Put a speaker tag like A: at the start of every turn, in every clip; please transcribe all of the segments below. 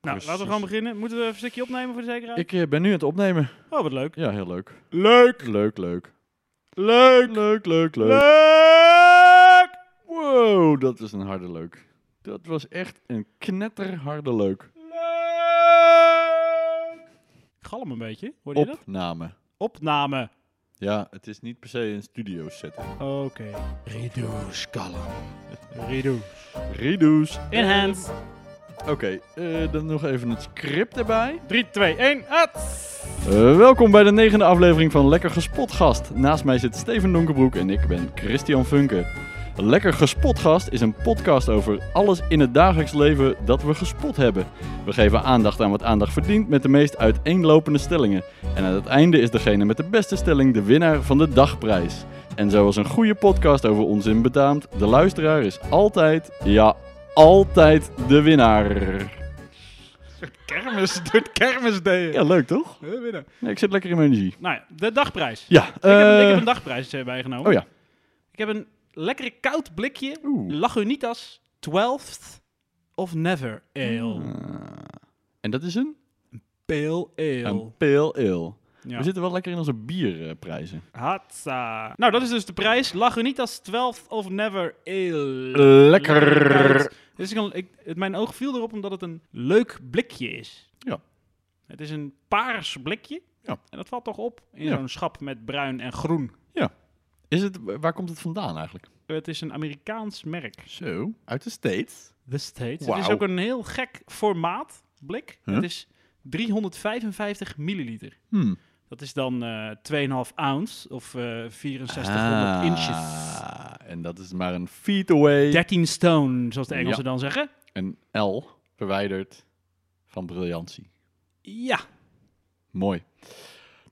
A: Nou,
B: Precies.
A: laten we gewoon beginnen. Moeten we even een stukje opnemen voor de zekerheid?
B: Ik eh, ben nu aan het opnemen.
A: Oh, wat leuk.
B: Ja, heel leuk.
A: Leuk!
B: Leuk, leuk.
A: Leuk!
B: Leuk, leuk, leuk.
A: Leuk!
B: Wow, dat is een harde leuk. Dat was echt een knetterharde leuk.
A: Leuk! Ik galm een beetje. Hoor je dat?
B: Opname.
A: Opname.
B: Ja, het is niet per se een studio setting.
A: Oké. Reduce kalm. Reduce.
B: Reduce.
A: Enhance.
B: Oké, eh, dan nog even het script erbij.
A: 3, 2, 1, at!
B: Eh, welkom bij de negende aflevering van Lekker Gespot Gast. Naast mij zit Steven Donkerbroek en ik ben Christian Funke. Lekker Gespot Gast is een podcast over alles in het dagelijks leven dat we gespot hebben. We geven aandacht aan wat aandacht verdient met de meest uiteenlopende stellingen. En aan het einde is degene met de beste stelling de winnaar van de dagprijs. En zoals een goede podcast over onzin betaamt, de luisteraar is altijd, ja, altijd de winnaar.
A: Kermis, doet kermis deden.
B: Ja, leuk toch?
A: Nou
B: Nee, ik zit lekker in mijn energie.
A: ja, de dagprijs.
B: Ja,
A: Ik, heb, een- ik
B: eh,
A: heb een dagprijs eh, bijgenomen.
B: Oh ja.
A: Ik heb een lekkere koud blikje
B: Oeh.
A: Lagunitas 12th of Never Ale.
B: Ah. En dat is een?
A: Pale Ale.
B: Een pale ale.
A: Ja.
B: We zitten wel lekker in onze bierprijzen.
A: Hatsa. Nou, dat is dus de prijs. Lagunitas 12th of Never Ale.
B: Eh. Lekker.
A: koud. Dit is een- ik, het, mijn oog viel erop omdat het een leuk blikje is.
B: Ja.
A: Het is een paars blikje.
B: Ja.
A: En dat valt toch op in
B: Ja.
A: zo'n schap met bruin en groen.
B: Is het, waar komt het vandaan eigenlijk?
A: Het is een Amerikaans merk.
B: Zo, uit de States.
A: The States. Het is
B: Wauw.
A: ook een heel gek formaat blik.
B: Huh?
A: Het is 355 milliliter.
B: Hmm.
A: Dat is dan eh 2,5 ounce of eh 6400
B: Ah,
A: inches.
B: En dat is maar een feet away.
A: 13 stone, zoals de
B: Ja.
A: Engelsen dan zeggen.
B: Een L verwijderd van briljantie.
A: Ja,
B: Mooi.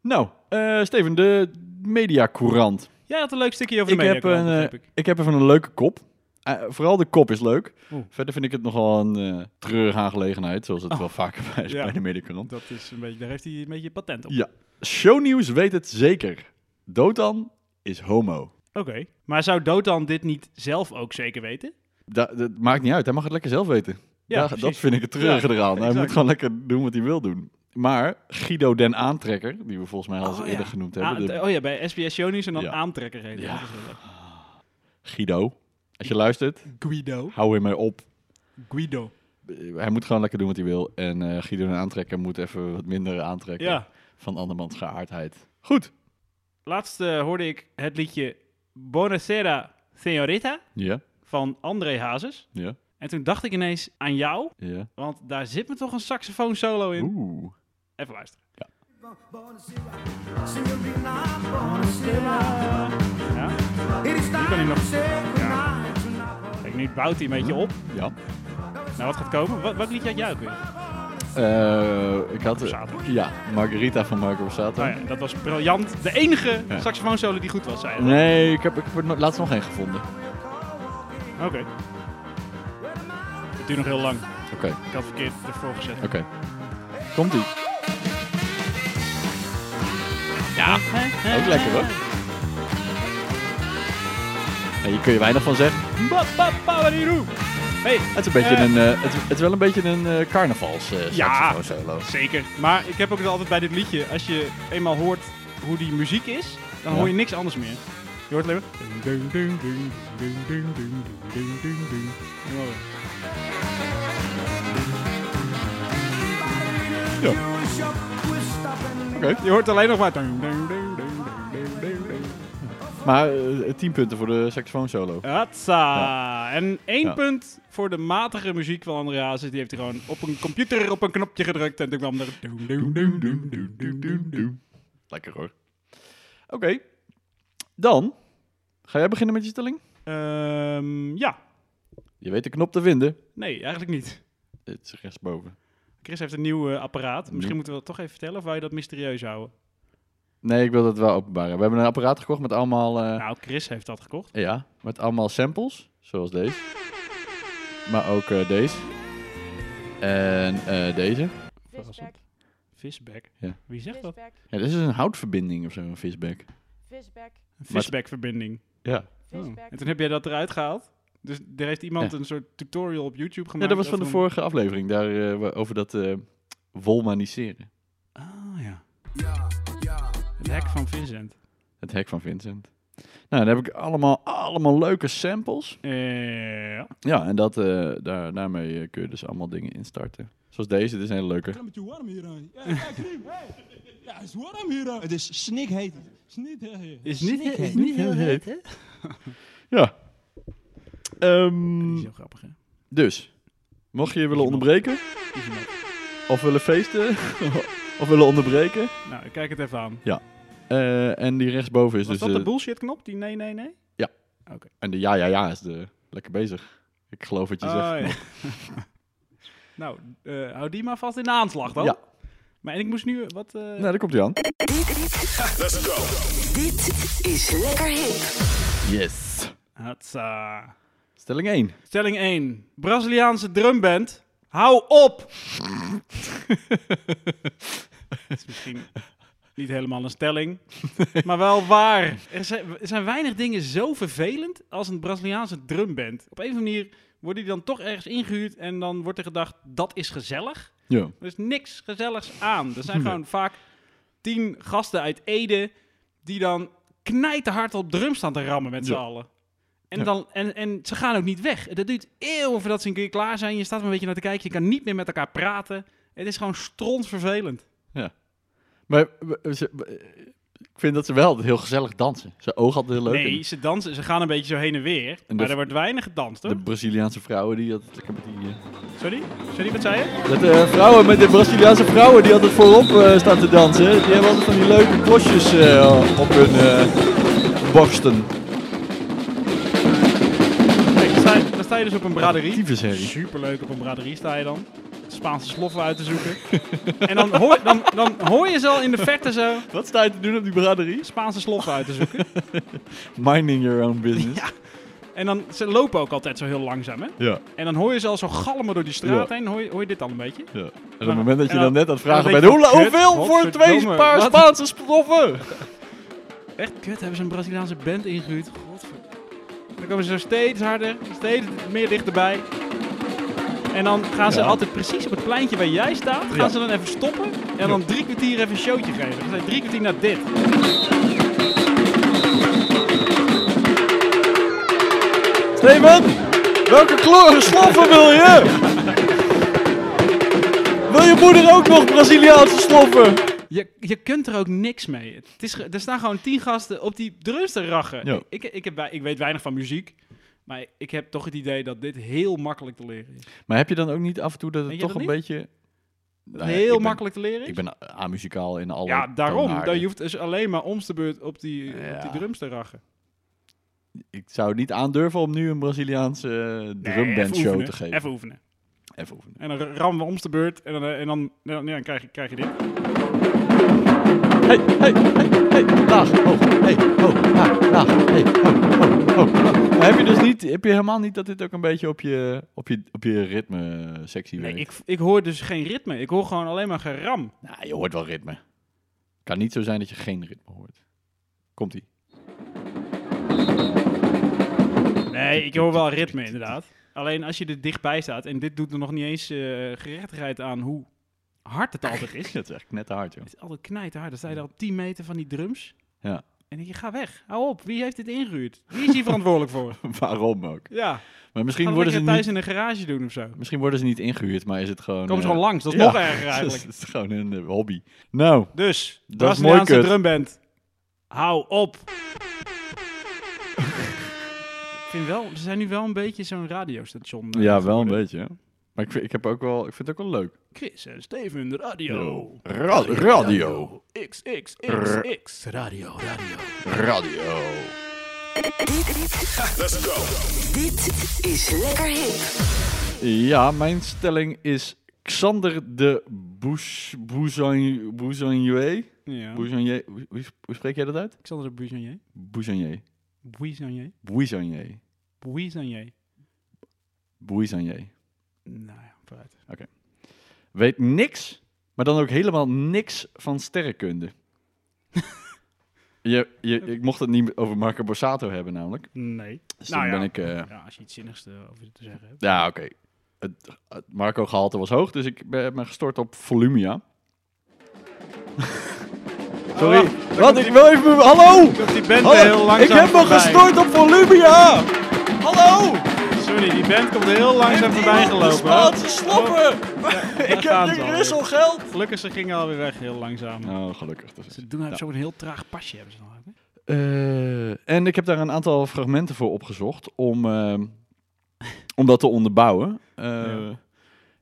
B: Nou, eh, Steven, de mediacourant.
A: jij had een leuk stukje over de
B: Ik heb
A: media.
B: een, eh,
A: heb ik.
B: Ik heb even een leuke kop. Eh, vooral de kop is leuk.
A: Oeh. Oh.
B: Verder vind ik het nogal een eh, treurige aangelegenheid, zoals het wel vaker bij is
A: Ja.
B: bij de mediacourant.
A: Dat is een beetje, daar heeft hij een beetje patent op.
B: Ja. Shownieuws weet het zeker. Dotan is homo.
A: Oké, maar zou Dotan dit niet zelf ook zeker weten?
B: Da- dat maakt niet uit, hij mag het lekker zelf weten.
A: Ja,
B: Daar- dat
A: precies.
B: vind ik het treurige
A: Ja,
B: eraan. Hij
A: exact.
B: moet gewoon lekker doen wat hij wil doen. Maar Guido den Aantrekker, die we volgens mij al eens
A: Oh, ja.
B: eerder genoemd
A: Ah,
B: hebben. de-
A: oh ja, bij SBS Shownieuws en dan
B: Ja.
A: aantrekker heet
B: Ja.
A: dat. is wel leuk.
B: Guido, als je luistert,
A: Guido.
B: hou hem mee op.
A: Guido.
B: Eh, Hij moet gewoon lekker doen wat hij wil. En eh, Guido den Aantrekker moet even wat minder aantrekken
A: Ja.
B: van andermans geaardheid. Goed.
A: Laatst eh, hoorde ik het liedje Buonasera, Senorita
B: Ja,
A: van André Hazes.
B: ja,
A: En toen dacht ik ineens aan jou,
B: ja.
A: want daar zit me toch een saxofoon solo in.
B: Oeh.
A: Even luisteren. Ja.
C: Die kan hij nog. Ja.
A: Kijk, nu bouwt hij een beetje op.
B: Ja.
A: Nou, wat gaat komen? Wat, wat liedje had jij ook weer? Oh
B: Eh, ik had...
A: Borsato. Ah,
B: Ja, Margarita van Marco Borsato.
A: ja, dat was briljant. De enige
B: Ja.
A: saxofoon solo die goed was, zei hij.
B: Nee, ik heb, ik heb er no- laatst nog één gevonden.
A: Oké. Het duurt nog heel lang.
B: Oké,
A: Ik had verkeerd ervoor gezet.
B: oké. Komt ie.
A: Ja.
B: Ook lekker hoor. En hier kun je weinig van zeggen.
A: Ba, ba, ba, ba, die roe. Hey,
B: Het is, een beetje
A: Eh.
B: een, eh, het, is, het is wel een beetje een eh carnavals eh
A: Ja.
B: saxofoon solo.
A: zeker. Maar ik heb ook het altijd bij dit liedje. Als je eenmaal hoort hoe die muziek is, dan
B: Ja.
A: hoor je niks anders meer. Je hoort alleen maar...
B: Oké.
A: Je hoort alleen nog maar...
B: Maar eh, 10 punten voor de saxofoon solo.
A: Hatsa. En één
B: Ja.
A: punt voor de matige muziek van André Hazes. Die heeft hij gewoon op een computer op een knopje gedrukt. En toen kwam er...
B: Lekker hoor. Oké. Dan ga jij beginnen met je stelling.
A: Ehm, ja.
B: Je weet de knop te vinden.
A: Nee, eigenlijk niet.
B: Het is rechtsboven.
A: Chris heeft een nieuw eh, apparaat. Misschien
B: Nieuw.
A: moeten we dat toch even vertellen of wou je dat mysterieus houden?
B: Nee, ik wil dat wel openbaar. hebben. We hebben een apparaat gekocht met allemaal... eh,
A: Nou, Chris heeft dat gekocht.
B: Ja, met allemaal samples, zoals deze. Maar ook eh, deze. En eh, deze.
A: Verrassend.
D: Visback,
A: Visback.
B: Ja.
A: Wie zegt dat?
D: visback,
B: Ja, dit is een houtverbinding of zo, een visback.
D: visback,
A: Een visbackverbinding.
B: Ja.
A: Oh.
D: visback.
A: En toen heb jij dat eruit gehaald. Dus er heeft iemand een soort tutorial op YouTube
B: Ja,
A: gemaakt.
B: dat was van de
A: over
B: vorige aflevering, daar, eh, wa- over dat eh wolmaniseren.
A: een- Ah ja. Het hek van Vincent.
B: Het hek van Vincent. Nou, daar heb ik allemaal, allemaal leuke samples.
A: Eh, ja.
B: Ja, en dat, eh, daar, daarmee eh, kun je dus allemaal dingen instarten. Zoals deze, dit is een hele leuke.
D: Het is warm hier aan. Ja, kijk nu. Hey. Ja, het is warm hier aan. Het is snikheet.
A: Is niet, is
B: niet heel heet, Ja. Ehm,
A: niet zo grappig, hè?
B: dus, mocht je je willen onderbreken, of willen feesten, of willen onderbreken.
A: Nou, ik kijk het even
B: Dus
A: aan.
B: eh, en die rechtsboven is
A: Was
B: dus...
A: dat de
B: eh,
A: bullshit-knop? Die nee, nee, nee?
B: en de ja, ja, ja is de lekker bezig. Ik geloof wat je zegt.
A: Oh, ja. nou, eh, hou die maar vast in de aanslag dan.
B: Ja.
A: Maar en ik moest nu eh, wat... eh,
B: Nou, daar komt hij aan.
E: Dit is lekker hip.
B: Yes.
A: hatsa.
B: Stelling 1.
A: Stelling 1. Braziliaanse drumband. Hou op! Dat is misschien niet helemaal een stelling, maar wel waar. Er zijn, er zijn weinig dingen zo vervelend als een Braziliaanse drumband. Op een of andere manier worden die dan toch ergens ingehuurd en dan wordt er gedacht, dat is gezellig.
B: Ja.
A: Er is niks gezelligs aan. Er zijn gewoon vaak tien gasten uit Ede die dan knijterhard op drum staan te rammen met z'n
B: Ja.
A: allen. En,
B: Ja.
A: dan, en, en ze gaan ook niet weg. Dat duurt eeuwen voordat ze een keer klaar zijn. Je staat maar een beetje naar te kijken. Je kan niet meer met elkaar praten. Het is gewoon strontvervelend.
B: Maar we- ze- we- ik vind dat ze wel heel gezellig dansen. Ze oog had heel leuk.
A: Nee, ze dansen. Ze gaan een beetje zo heen en weer.
B: de
A: maar
B: v-
A: er wordt weinig gedanst,
B: En
A: hoor.
B: de Braziliaanse vrouwen die had lekker met die... eh,
A: Sorry? Sorry, wat zei je?
B: Dat de vrouwen met de Braziliaanse vrouwen die altijd voorop eh, staan te dansen. Die hebben altijd van die leuke klosjes eh, op hun eh, borsten.
A: Kijk, dan sta, je, dan sta je dus op een braderie.
B: Tyfusherrie.
A: Superleuk op een braderie sta je dan. Spaanse sloffen uit te zoeken. en dan hoor, dan, dan hoor je ze al in de verte zo
B: Wat sta je te doen op die braderie?
A: Spaanse sloffen uit te zoeken.
B: Minding your own business.
A: Ja. En dan, ze lopen ook altijd zo heel langzaam, hè?
B: Ja.
A: En dan hoor je ze al zo galmen door die straat
B: Ja.
A: heen. Hoor je, hoor je dit al een beetje?
B: ja. En op het moment dat je
A: En dan-
B: dan net aan het vragen
A: en dan
B: bent,
A: denk je,
B: "Hoe-
A: kut,
B: hoeveel voor twee
A: godverdomme,
B: paar
A: wat?"
B: Spaanse stoffen?
A: Echt kut, hebben ze een Braziliaanse band ingehuurd. Godver... Dan komen ze zo steeds harder, steeds meer dichterbij. En dan gaan ze
B: Ja.
A: altijd precies op het pleintje waar jij staat, gaan
B: Ja.
A: ze dan even stoppen. En dan drie kwartier even een showtje geven. Dan zijn drie kwartier naar dit.
B: Steven, welke kleuren sloffen wil je? Wil je moeder ook nog Braziliaanse sloffen?
A: Je, je kunt er ook niks mee. Het is, ge- er staan gewoon tien gasten op die drums te rachen.
B: Ja.
A: Ik, ik, heb, wei- ik weet weinig van muziek. Maar ik heb toch het idee dat dit heel makkelijk te leren is.
B: Maar heb je dan ook niet af en toe dat
A: Weet
B: het
A: je
B: toch een
A: dat
B: beetje... Nou ja, ik
A: heel
B: ben-
A: makkelijk te leren is.
B: Ik ben a- amuzikaal in alle
A: ja, daarom.
B: toonaarden.
A: Dan, je hoeft dus alleen maar omste beurt op die, op
B: Ja.
A: die drums te rachen.
B: Ik zou het niet aandurven om nu een Braziliaanse eh, drumband
A: even
B: show
A: oefenen,
B: te geven.
A: Even oefenen.
B: Even oefenen.
A: En dan rammen we omste beurt en dan, eh, en dan, ja, dan, ja, krijg, je, krijg je dit.
B: Hey, hey, hey, hey, laag, hoog, hey, hoog, laag, laag, hey, hoog, hoog, hoog. Maar heb je dus niet, heb je helemaal niet dat dit ook een beetje op je, op je, op je ritme eh, sectie
A: Nee,
B: werkt?
A: ik, ik hoor dus geen ritme. Ik hoor gewoon alleen maar geram.
B: Nou, je hoort wel ritme. kan niet zo zijn dat je geen ritme hoort. Komt-ie.
A: Nee, ik hoor wel ritme inderdaad. Alleen als je er dichtbij staat, en dit doet er nog niet eens eh, gerechtigheid aan hoe hard het altijd is.
B: Dat is echt net te hard, joh.
A: Het is altijd knijterhard. Dan sta je daar op 10 meter van die drums.
B: Ja.
A: En je gaat weg. Hou op, wie heeft dit ingehuurd? Wie is hier verantwoordelijk voor?
B: Waarom ook?
A: Ja,
B: Maar misschien
A: gaan
B: worden, ze
A: we thuis
B: niet,
A: in een garage doen of zo.
B: misschien worden ze niet ingehuurd, maar is het gewoon...
A: Komen ze
B: eh,
A: gewoon langs, dat is
B: ja,
A: nog erger eigenlijk.
B: Het is gewoon een eh, hobby. Nou,
A: Dus,
B: is
A: Braziliaanse
B: mooi kut.
A: drumband. Hou op. Ik vind wel, ze zijn nu wel een beetje zo'n radiostation. eh,
B: ja, wel een
A: geworden.
B: beetje. hè. Maar ik vind, ik, heb ook wel, ik vind het ook wel leuk.
A: Chris en Steven, radio.
B: Radio. Radio.
A: X, X, X, X. Radio, radio.
B: Radio.
E: Dit is lekker hip.
B: Ja, mijn stelling is Xander de Bous- Bouzan- Bouzanier.
A: Ja.
B: Bouzanier. Hoe, hoe- hoe spreek jij dat uit?
A: Alexander Buisanier.
B: Bouzanier.
A: Buisanier.
B: Bouzanier.
A: Buisanier.
B: Bouzanier.
A: Nou ja, vooruit.
B: Weet niks, maar dan ook helemaal niks van sterrenkunde. Je, je, ik mocht het niet over Marco Borsato hebben namelijk.
A: Nee.
B: Dus
A: nou
B: dan
A: ja.
B: ben ik... eh,
A: ja, als je iets zinnigs eh, over te zeggen hebt.
B: ja, oké. Het, het Marco-gehalte was hoog, dus ik ben, heb me gestort op Volumia. Sorry. Wat? Ik wil even... mijn- Hallo!
A: Oh, Die band
B: Hallo!
A: heel
B: Ah, Ik
A: langzaam
B: heb me
A: voorbij.
B: gestort op Volumia! Hallo!
A: Sorry, die band komt heel langzaam voorbij gelopen. hoor.
B: Spaanse sloppen! ik
A: gaan ze
B: heb nu
A: alweer.
B: wisselgeld!
A: Gelukkig, ze gingen alweer weg, heel langzaam.
B: Nou, gelukkig. Dus.
A: Ze doen zo'n heel traag pasje hebben ze nog. hè?
B: Eh, en ik heb daar een aantal fragmenten voor opgezocht om, ehm, om dat te onderbouwen. Eh,
A: Ja.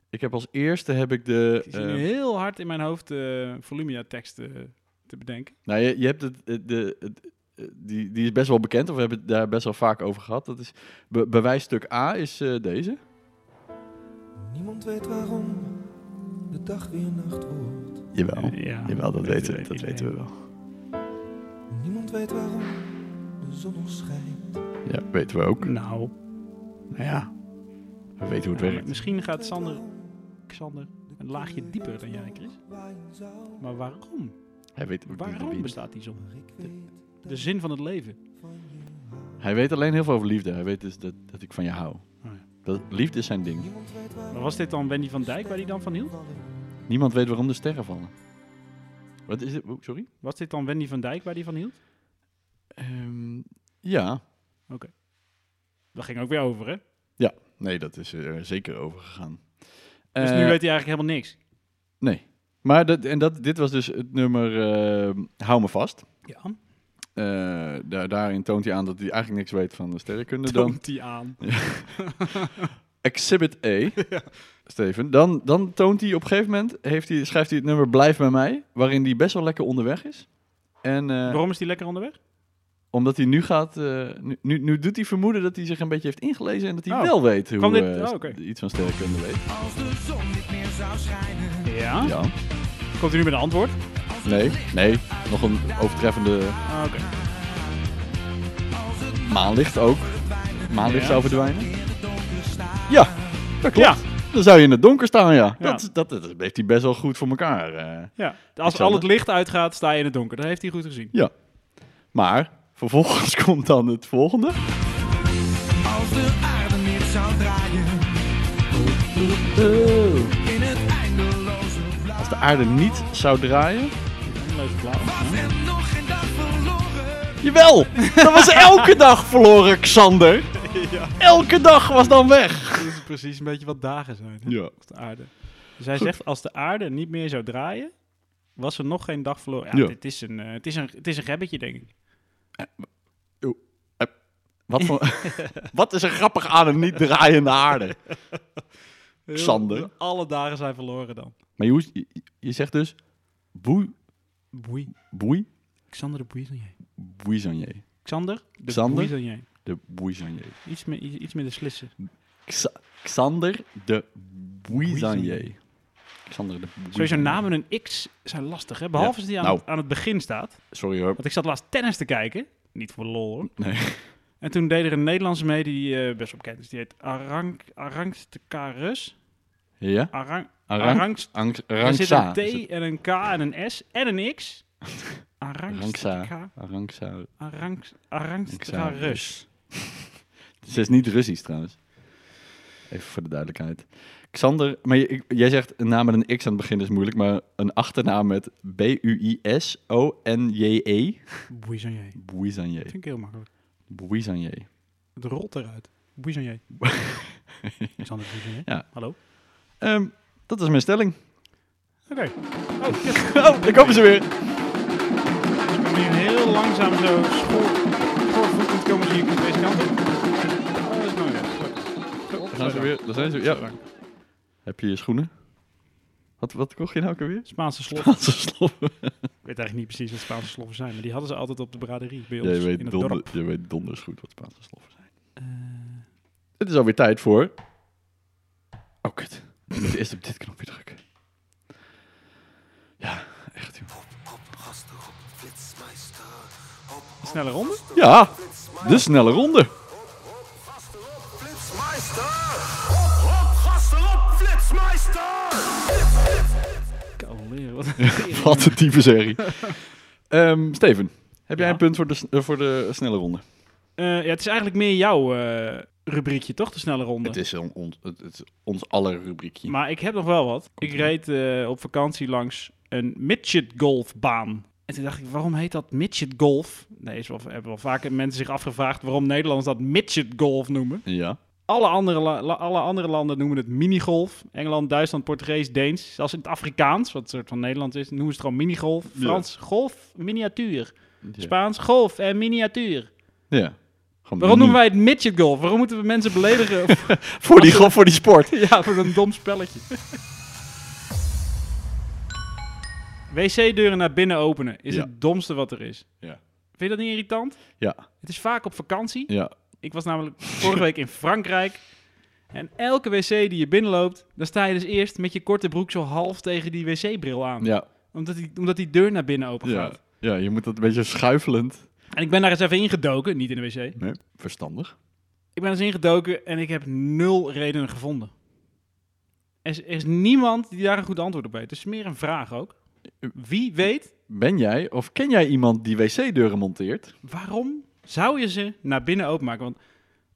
B: Ik heb als eerste heb ik de.
A: Ik zit nu
B: eh,
A: heel hard in mijn hoofd eh volumia teksten te bedenken.
B: nou, je, je hebt het, het- de, het- eh, die, die is best wel bekend, of we hebben het daar best wel vaak over gehad. Dat is be- bewijsstuk A is eh, deze.
F: Niemand weet waarom de dag weer nacht wordt.
B: Jawel.
A: Ja, eh,
B: Jawel, dat, weten, dat
A: iedereen.
B: weten we wel.
F: Niemand weet waarom de zon ons schijnt.
B: Ja, weten we ook.
A: Nou,
B: Nou ja, we weten hoe het
A: ja,
B: werkt.
A: misschien gaat Sander, Xander een laagje dieper dan jij, Chris. Maar waarom?
B: Hij weet, ook niet
A: Waarom
B: wie-
A: bestaat die zon? De, de zin van het leven.
B: hij weet alleen heel veel over liefde. Hij weet dus dat, dat ik van je hou.
A: Oh, ja.
B: dat, liefde is zijn ding.
A: Maar was dit dan Wendy van Dijk waar hij dan van hield?
B: Niemand weet waarom de sterren vallen. Wat is het? Oeh, Sorry?
A: Was dit dan Wendy van Dijk waar hij van hield?
B: Ehm, ja.
A: Dat ging ook weer over, hè?
B: Ja. Nee, dat is er zeker over gegaan.
A: Dus
B: Eh,
A: nu weet hij eigenlijk helemaal niks.
B: Nee. Maar dat, en dat, dit was dus het nummer eh, Hou me vast.
A: Ja,
B: Eh, daar, daarin toont hij aan dat hij eigenlijk niks weet van de sterrenkunde. Dan
A: toont hij aan.
B: Exhibit A, Steven. Dan, dan toont hij op een gegeven moment, heeft hij, schrijft hij het nummer Blijf bij mij, waarin hij best wel lekker onderweg is. En, eh,
A: Waarom is hij lekker onderweg?
B: Omdat hij nu gaat. eh, nu, nu, nu doet hij vermoeden dat hij zich een beetje heeft ingelezen. En dat hij
A: Oh.
B: wel weet hoe
A: Kan dit-
B: eh,
A: oh, oké.
B: iets van sterrenkunde weet.
C: Als de zon niet meer zou schijnen.
A: Ja.
B: Ja.
A: Komt hij nu met een antwoord?
B: Nee, nee. Nog een overtreffende
A: Ah, Oké.
B: maanlicht ook. Maanlicht
A: Ja.
B: zou verdwijnen. Ja, dat klopt.
A: Ja.
B: Dan zou je in het donker staan, ja.
A: Ja.
B: Dat, dat, dat heeft hij best wel goed voor elkaar. eh.
A: Ja. Als al
B: Xander?
A: het licht uitgaat, sta je in het donker. Dat heeft hij goed gezien.
B: Ja. Maar vervolgens komt dan het volgende.
C: Als de aarde niet zou draaien. In het eindeloze vlak.
B: Als de aarde niet zou draaien.
A: Leuke plaat.
C: Was er nog geen dag verloren.
B: Jawel! Dat was elke dag verloren, Xander. Elke dag was dan weg.
A: Dat is precies een beetje wat dagen zijn. hè?
B: Ja.
A: Op de aarde. Dus hij zegt, als de aarde niet meer zou draaien, was er nog geen dag verloren. Ja,
B: Ja.
A: Dit is een, eh, het, is een, het is een gebbetje, denk ik.
B: Wat, voor- wat is er grappig aan een niet draaiende aarde? Xander.
A: Heel- Alle dagen zijn verloren dan.
B: Maar je, hoest- je, je zegt dus boei,
A: Boei.
B: boei,
A: Xander de Boeizanier.
B: boeizanier.
A: Xander de
B: Xander?
A: Boeizanier.
B: De boeizanier.
A: Iets meer, iets, iets meer de slissen.
B: Xa- Xander de boeizanier.
A: Boeizanier.
B: Xander de boeizanier.
A: Sowieso namen een X zijn lastig, hè? Behalve
B: Ja.
A: als die aan,
B: Nou.
A: het, aan het begin staat.
B: Sorry hoor.
A: Want ik zat laatst tennis te kijken. Niet voor lol, hoor.
B: Nee.
A: En toen deed er een Nederlandse mee die eh, best wel bekend is. Die heet Arang, Arangstekarus.
B: Ja?
A: Arang,
B: Arang-
A: Arangst-
B: Angst,
A: Er zit
B: rangsa.
A: een T en een K en een S en een X. Arangsteka-
B: Rangsa. Rangsa.
A: Arangs- Arangstrarus.
B: Ze is niet Russisch trouwens. Even voor de duidelijkheid. Xander, maar je- ik- jij zegt een naam met een X aan het begin is moeilijk, maar een achternaam met B-U-I-S-O-N-J-E.
A: Boeizanje.
B: Boeizanje.
A: Vind ik heel makkelijk.
B: Boeizanje.
A: Het rolt eruit. Boeizanje. Xander Boeizanje.
B: Ja.
A: Hallo.
B: Ehm, dat is mijn stelling.
A: Oké. Oh, kut.
B: Oh, daar komen ze weer.
A: Ik ben hier heel langzaam zo schoor- schoorvoetend komen ze hier deze kant op. Oh, dat is mooi.
B: Daar gaan ze weer. Daar zijn ze weer. Ja. Heb je je schoenen? Wat, wat kocht je nou ook alweer?
A: Spaanse sloffen.
B: Spaanse sloffen.
A: Ik weet eigenlijk niet precies wat Spaanse sloffen zijn, maar die hadden ze altijd op de braderie bij ons
B: Jij
A: in
B: weet,
A: het
B: donder,
A: dorp. Eh.
B: jij weet donders goed wat Spaanse sloffen zijn. Het is alweer tijd voor... Oh, kut. Ik moet eerst op dit knopje drukken. Ja, echt joh.
A: Snelle ronde?
B: Ja, de snelle ronde.
A: Kan leren. Wat
B: Wat een type serie. Ehm, Steven, Heb jij
A: Ja.
B: een punt voor de, s- eh, voor de snelle ronde?
A: Eh, ja, het is eigenlijk meer jouw eh, rubriekje, toch? De snelle ronde.
B: Het is, een on- het, het is ons aller rubriekje.
A: Maar ik heb nog wel wat.
B: Komt
A: ik
B: ie.
A: reed eh, op vakantie langs een midget golfbaan. En toen dacht ik, waarom heet dat midget golf? Nee, is wel, hebben wel vaker mensen zich afgevraagd waarom Nederlanders dat midget golf noemen.
B: Ja.
A: Alle andere, la- la- alle andere landen noemen het minigolf. Engeland, Duitsland, Portugees, Deens. Zelfs in het Afrikaans, wat een soort van Nederlands is, noemen ze het gewoon minigolf.
B: Ja.
A: Frans, golf, miniatuur.
B: Ja.
A: Spaans, golf en miniatuur.
B: Ja.
A: Waarom
B: Gewoon mini-
A: noemen wij het midget golf? Waarom moeten we mensen beledigen
B: Voor die, go- voor die sport.
A: Ja, voor een dom spelletje. Wc-deuren naar binnen openen is
B: Ja.
A: het domste wat er is.
B: Ja.
A: Vind je dat niet irritant?
B: Ja.
A: Het is vaak op vakantie.
B: Ja.
A: Ik was namelijk vorige week in Frankrijk. En elke wc die je binnenloopt, dan sta je dus eerst met je korte broek zo half tegen die wc-bril aan.
B: Ja.
A: Omdat, die, omdat die deur naar binnen open
B: Ja.
A: gaat.
B: ja. Je moet dat een beetje schuifelend.
A: En ik ben daar eens even ingedoken, niet in de wc.
B: Nee. Verstandig.
A: Ik ben eens ingedoken en ik heb nul redenen gevonden. Er is, er is niemand die daar een goed antwoord op weet. Het is meer een vraag ook. Wie weet
B: Ben jij of ken jij iemand die wc-deuren monteert?
A: waarom zou je ze naar binnen openmaken? Want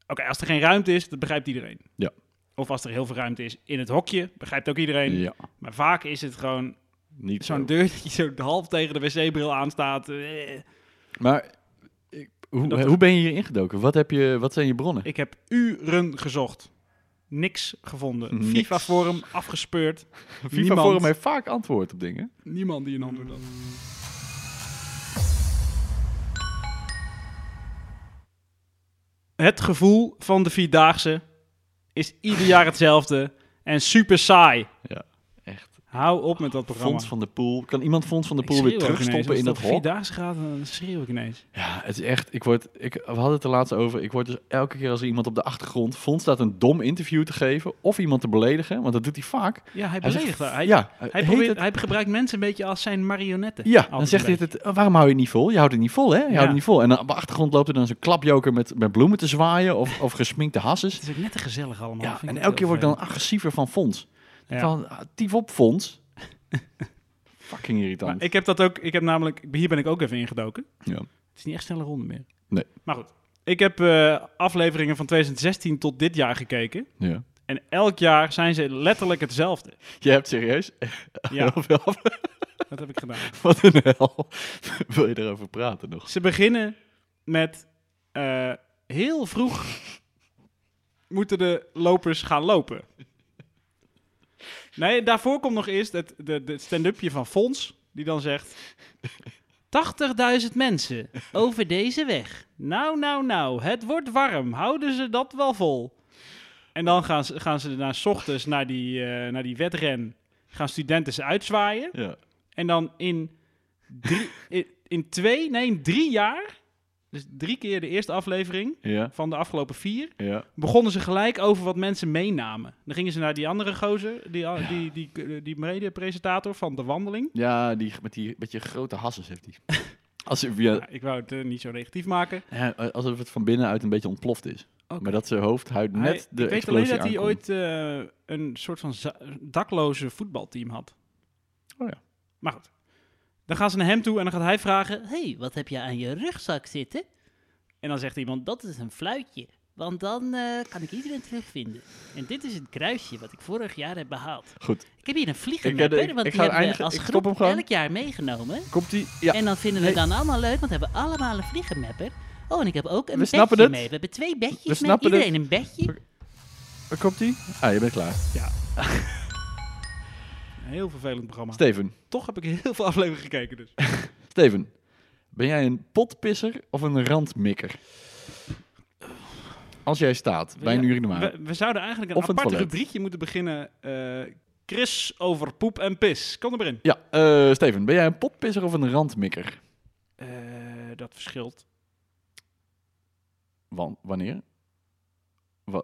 A: oké, als er geen ruimte is, dat begrijpt iedereen.
B: Ja.
A: Of als er heel veel ruimte is in het hokje, begrijpt ook iedereen.
B: Ja.
A: Maar vaak is het gewoon
B: Niet
A: zo'n
B: zo.
A: deur dat je zo half tegen de wc-bril aanstaat. Eh.
B: Maar ik- hoe,
A: Dat-
B: hoe ben je hier ingedoken? Wat, heb je, wat zijn je bronnen?
A: Ik heb uren gezocht. Niks gevonden.
B: Niks.
A: FIFA-forum afgespeurd.
B: FIFA
A: niemand.
B: Forum heeft vaak antwoord op dingen.
A: Niemand die een antwoord had. Het gevoel van de Vierdaagse is ieder jaar hetzelfde en super saai.
B: Ja, echt.
A: Hou op met dat programma.
B: Fonds van de Poel. Kan iemand Fonds van de
A: Ik
B: Poel
A: schreeuw
B: weer
A: ook ineens.
B: terugstoppen
A: Als
B: in
A: het
B: dat
A: over
B: hok?
A: Vierdaagse gaat, dan schreeuw ik ineens.
B: Ja, het is echt. Ik word, ik, we hadden het er laatst over. Ik word dus elke keer als er iemand op de achtergrond. Fons staat een dom interview te geven. Of iemand te beledigen. Want dat doet hij vaak.
A: Ja, hij
B: zegt-
A: beledigt daar. Hij,
B: ja,
A: hij,
B: heet
A: probeert-
B: het-
A: hij gebruikt mensen een beetje als zijn marionetten.
B: ja,
A: Altijd
B: dan zegt hij
A: een
B: het. eh, Waarom hou je het niet vol? Je houdt het niet vol, hè? Je houdt
A: Ja.
B: het niet vol. En dan op de achtergrond loopt er dan zo'n klapjoker met, met bloemen te zwaaien. Of, of gesminkte hasses.
A: Het is ook net te gezellig allemaal.
B: Ja,
A: Vind ik
B: en
A: ook
B: elke
A: heel
B: keer word ik dan agressiever van Fons.
A: Ja.
B: Van, ah, tief op, Fons. Fucking irritant.
A: Maar ik heb dat ook, ik heb namelijk, hier ben ik ook even ingedoken.
B: Ja.
A: Het is niet echt snelle ronde meer.
B: Nee.
A: Maar goed, ik heb eh, afleveringen van 2016 tot dit jaar gekeken.
B: Ja.
A: En elk jaar zijn ze letterlijk hetzelfde.
B: Je hebt serieus
A: Ja,
B: heel veel
A: dat heb ik gedaan.
B: Wat een hel. Wil je erover praten nog?
A: Ze beginnen met eh, heel vroeg moeten de lopers gaan lopen. Nee, daarvoor komt nog eerst het de, de stand-upje van Fons, die dan zegt... 80.000 mensen over deze weg. Nou, nou, nou, het wordt warm. Houden ze dat wel vol? En dan gaan ze, gaan ze daarna 's ochtends naar die, eh, naar die wedren. Gaan studenten ze uitzwaaien.
B: Ja.
A: En dan in, drie, in, in twee, nee, in drie jaar, dus drie keer de eerste aflevering
B: Ja.
A: van de afgelopen vier,
B: Ja.
A: begonnen ze gelijk over wat mensen meenamen. Dan gingen ze naar die andere gozer, die, die, die, die, die mede-presentator van De Wandeling.
B: Ja, die, met die beetje grote hasses heeft hij. Als, hij via-
A: Nou, ik wou het eh, niet zo negatief maken.
B: ja, alsof het van binnenuit een beetje ontploft is.
A: Oké.
B: Maar dat zijn hoofdhuid
A: Hij-
B: net de
A: ik weet alleen
B: explosie
A: dat hij
B: aankomt.
A: ooit eh, een soort van za- dakloze voetbalteam had.
B: Oh ja.
A: Maar goed. Dan gaan ze naar hem toe en dan gaat hij vragen... hey, wat heb je aan je rugzak zitten? En dan zegt iemand, dat is een fluitje. Want dan eh, kan ik iedereen terugvinden. En dit is het kruisje wat ik vorig jaar heb behaald.
B: Goed.
G: Ik heb hier een
B: Ik,
G: vliegenmapper,
B: eh,
G: want
B: ik-
G: die
B: ik ga
G: hebben we
B: eindigen.
G: als
B: Ik stop
G: groep
B: hem gewoon.
G: elk jaar meegenomen.
B: Komt hij? Ja.
G: En dan vinden we
B: Nee.
G: dan allemaal leuk, want we hebben allemaal een vliegenmapper. Oh, en ik heb ook een
B: We snappen
G: bedje
B: het.
G: mee. We hebben twee bedjes
B: We
G: mee,
B: snappen
G: iedereen een bedje.
B: Waar komt hij? Ah, je bent klaar.
A: Heel vervelend programma.
B: Steven.
A: Toch heb ik heel veel afleveringen gekeken dus.
B: Steven. Ben jij een potpisser of een randmikker? Als jij staat bij een
A: Ja,
B: urinoir.
A: We, we zouden eigenlijk een
B: Of een
A: apart
B: toilet.
A: rubriekje moeten beginnen. eh, Chris over poep en pis. Kom er maar in.
B: Ja, eh, Steven. Ben jij een potpisser of een randmikker?
A: Eh, dat verschilt.
B: Wan- wanneer?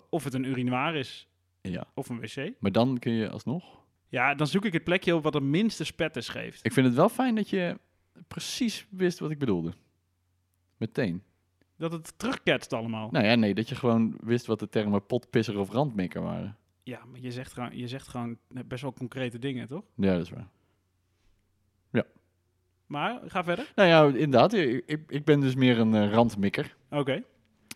A: Of het een urinoir is
B: Ja.
A: of een wc.
B: Maar dan kun je alsnog...
A: Ja, dan zoek ik het plekje op wat de minste spetters geeft.
B: Ik vind het wel fijn dat je precies wist wat ik bedoelde. Meteen.
A: Dat het terugketst allemaal.
B: Nou ja, nee, dat je gewoon wist wat de termen potpisser of randmikker waren.
A: Ja, maar je zegt, gewoon, je zegt gewoon best wel concrete dingen, toch?
B: Ja, dat is waar.
A: Maar ga verder.
B: Nou ja, inderdaad. Ik, ik- ik ben dus meer een eh, randmikker.
A: Oké.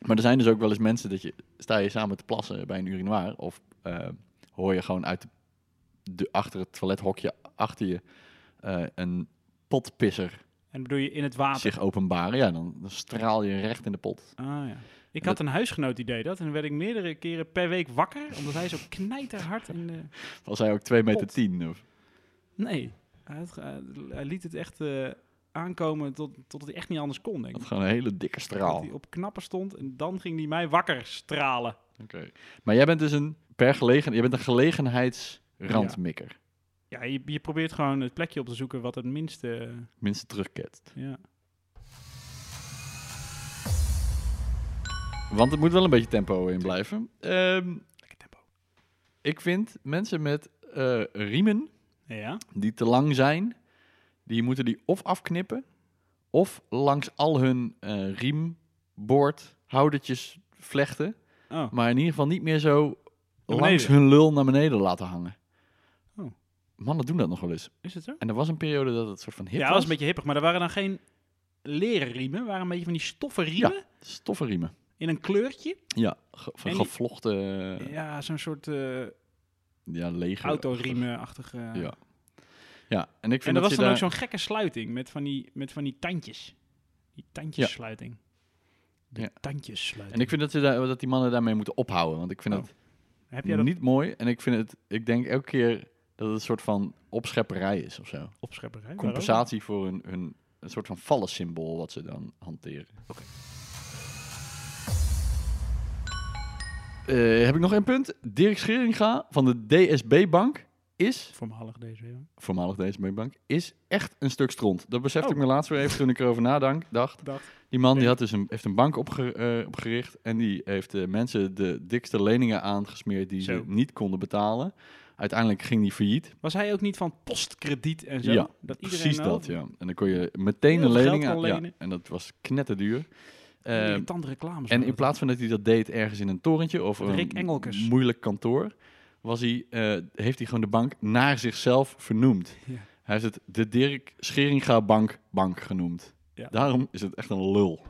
B: Maar er zijn dus ook wel eens mensen dat je... Sta je samen te plassen bij een urinoir... Of eh, hoor je gewoon uit de, de- achter het toilethokje achter je eh, een potpisser
A: En bedoel je in het water?
B: zich openbaren. Ja, dan, dan straal je recht in de pot.
A: Ah, ja. Ik
B: En
A: had een huisgenoot die deed dat. En dan werd ik meerdere keren per week wakker. Omdat hij zo knijterhard in de...
B: Was hij ook 2 meter
A: Pot.
B: 10? Of,
A: Nee. Hij, had ge- hij- hij liet het echt eh, aankomen tot, totdat hij echt niet anders kon, denk ik.
B: had gewoon een hele dikke
A: Dat
B: straal.
A: hij op knappen stond en dan ging hij mij wakker stralen.
B: Oké. Maar jij bent dus een per gelegen, je bent een gelegenheidsrandmikker.
A: Ja, je, je probeert gewoon het plekje op te zoeken wat het minste... eh,
B: Minstens terugketst.
A: ja.
B: Want het moet wel een beetje tempo in blijven. Ehm, Ik vind mensen met eh, riemen
A: Ja?
B: die te lang zijn, die moeten die of afknippen, of langs al hun eh riemboord houdertjes vlechten,
A: Oh,
B: maar in ieder geval niet meer zo
A: beneden.
B: langs hun lul naar beneden laten hangen.
A: Oh.
B: Mannen doen dat nog wel eens.
A: is het zo?
B: En er was een periode dat het soort van hip
A: ja, dat was een beetje hippig. Maar er waren dan geen leren riemen. Er waren een beetje van die stoffen riemen.
B: Stoffen riemen.
A: In een kleurtje.
B: Ja, ge- van
A: En die-
B: gevlochten, ja,
A: Ja, zo'n soort eh
B: lege...
A: autoriemenachtige...
B: Ja. Ja, en ik
A: En
B: vind
A: dat was
B: je
A: dan
B: daar...
A: ook zo'n gekke sluiting met van die, met van die tandjes. Die tandjessluiting. De
B: Ja.
A: tandjessluiting.
B: En ik vind dat, ze daar, dat die mannen daarmee moeten ophouden, want ik vind
A: Oh.
B: dat
A: Heb jij dat
B: niet mooi. En ik vind het, ik denk elke keer dat het een soort van opschepperij is of zo.
A: opschepperij?
B: Compensatie voor hun, hun een soort van vallensymbool wat ze dan hanteren. Oké. Eh, heb ik nog één punt? Dirk Scheringa van de DSB-bank is,
A: Voormalig deze. Ja.
B: voormalig DSB-bank, is echt een stuk stront. Dat besefte
A: Oh.
B: ik me laatst weer even toen ik erover nadank, dacht.
A: Dacht.
B: Die man die had dus een, heeft een bank opge- eh, opgericht en die heeft eh, mensen de dikste leningen aangesmeerd die
A: Zo.
B: ze niet konden betalen. Uiteindelijk ging die failliet.
A: Was hij ook niet van postkrediet en zo?
B: Ja,
A: dat iedereen
B: Precies
A: wel
B: dat, ja. En dan kon je meteen
A: Heel
B: een
A: veel
B: lening
A: geld
B: aan.
A: kon
B: Ja,
A: lenen.
B: en dat was knetterduur.
A: die
B: Ehm
A: irritante reclames.
B: en in
A: hadden.
B: plaats van dat hij dat deed ergens in een torentje of
A: Met
B: een
A: Rick Engelkes.
B: moeilijk kantoor, was hij, eh, heeft hij gewoon de bank naar zichzelf vernoemd.
A: Ja.
B: Hij heeft het de Dirk Scheringa Bank Bank genoemd.
A: Ja.
B: Daarom is het echt een lul.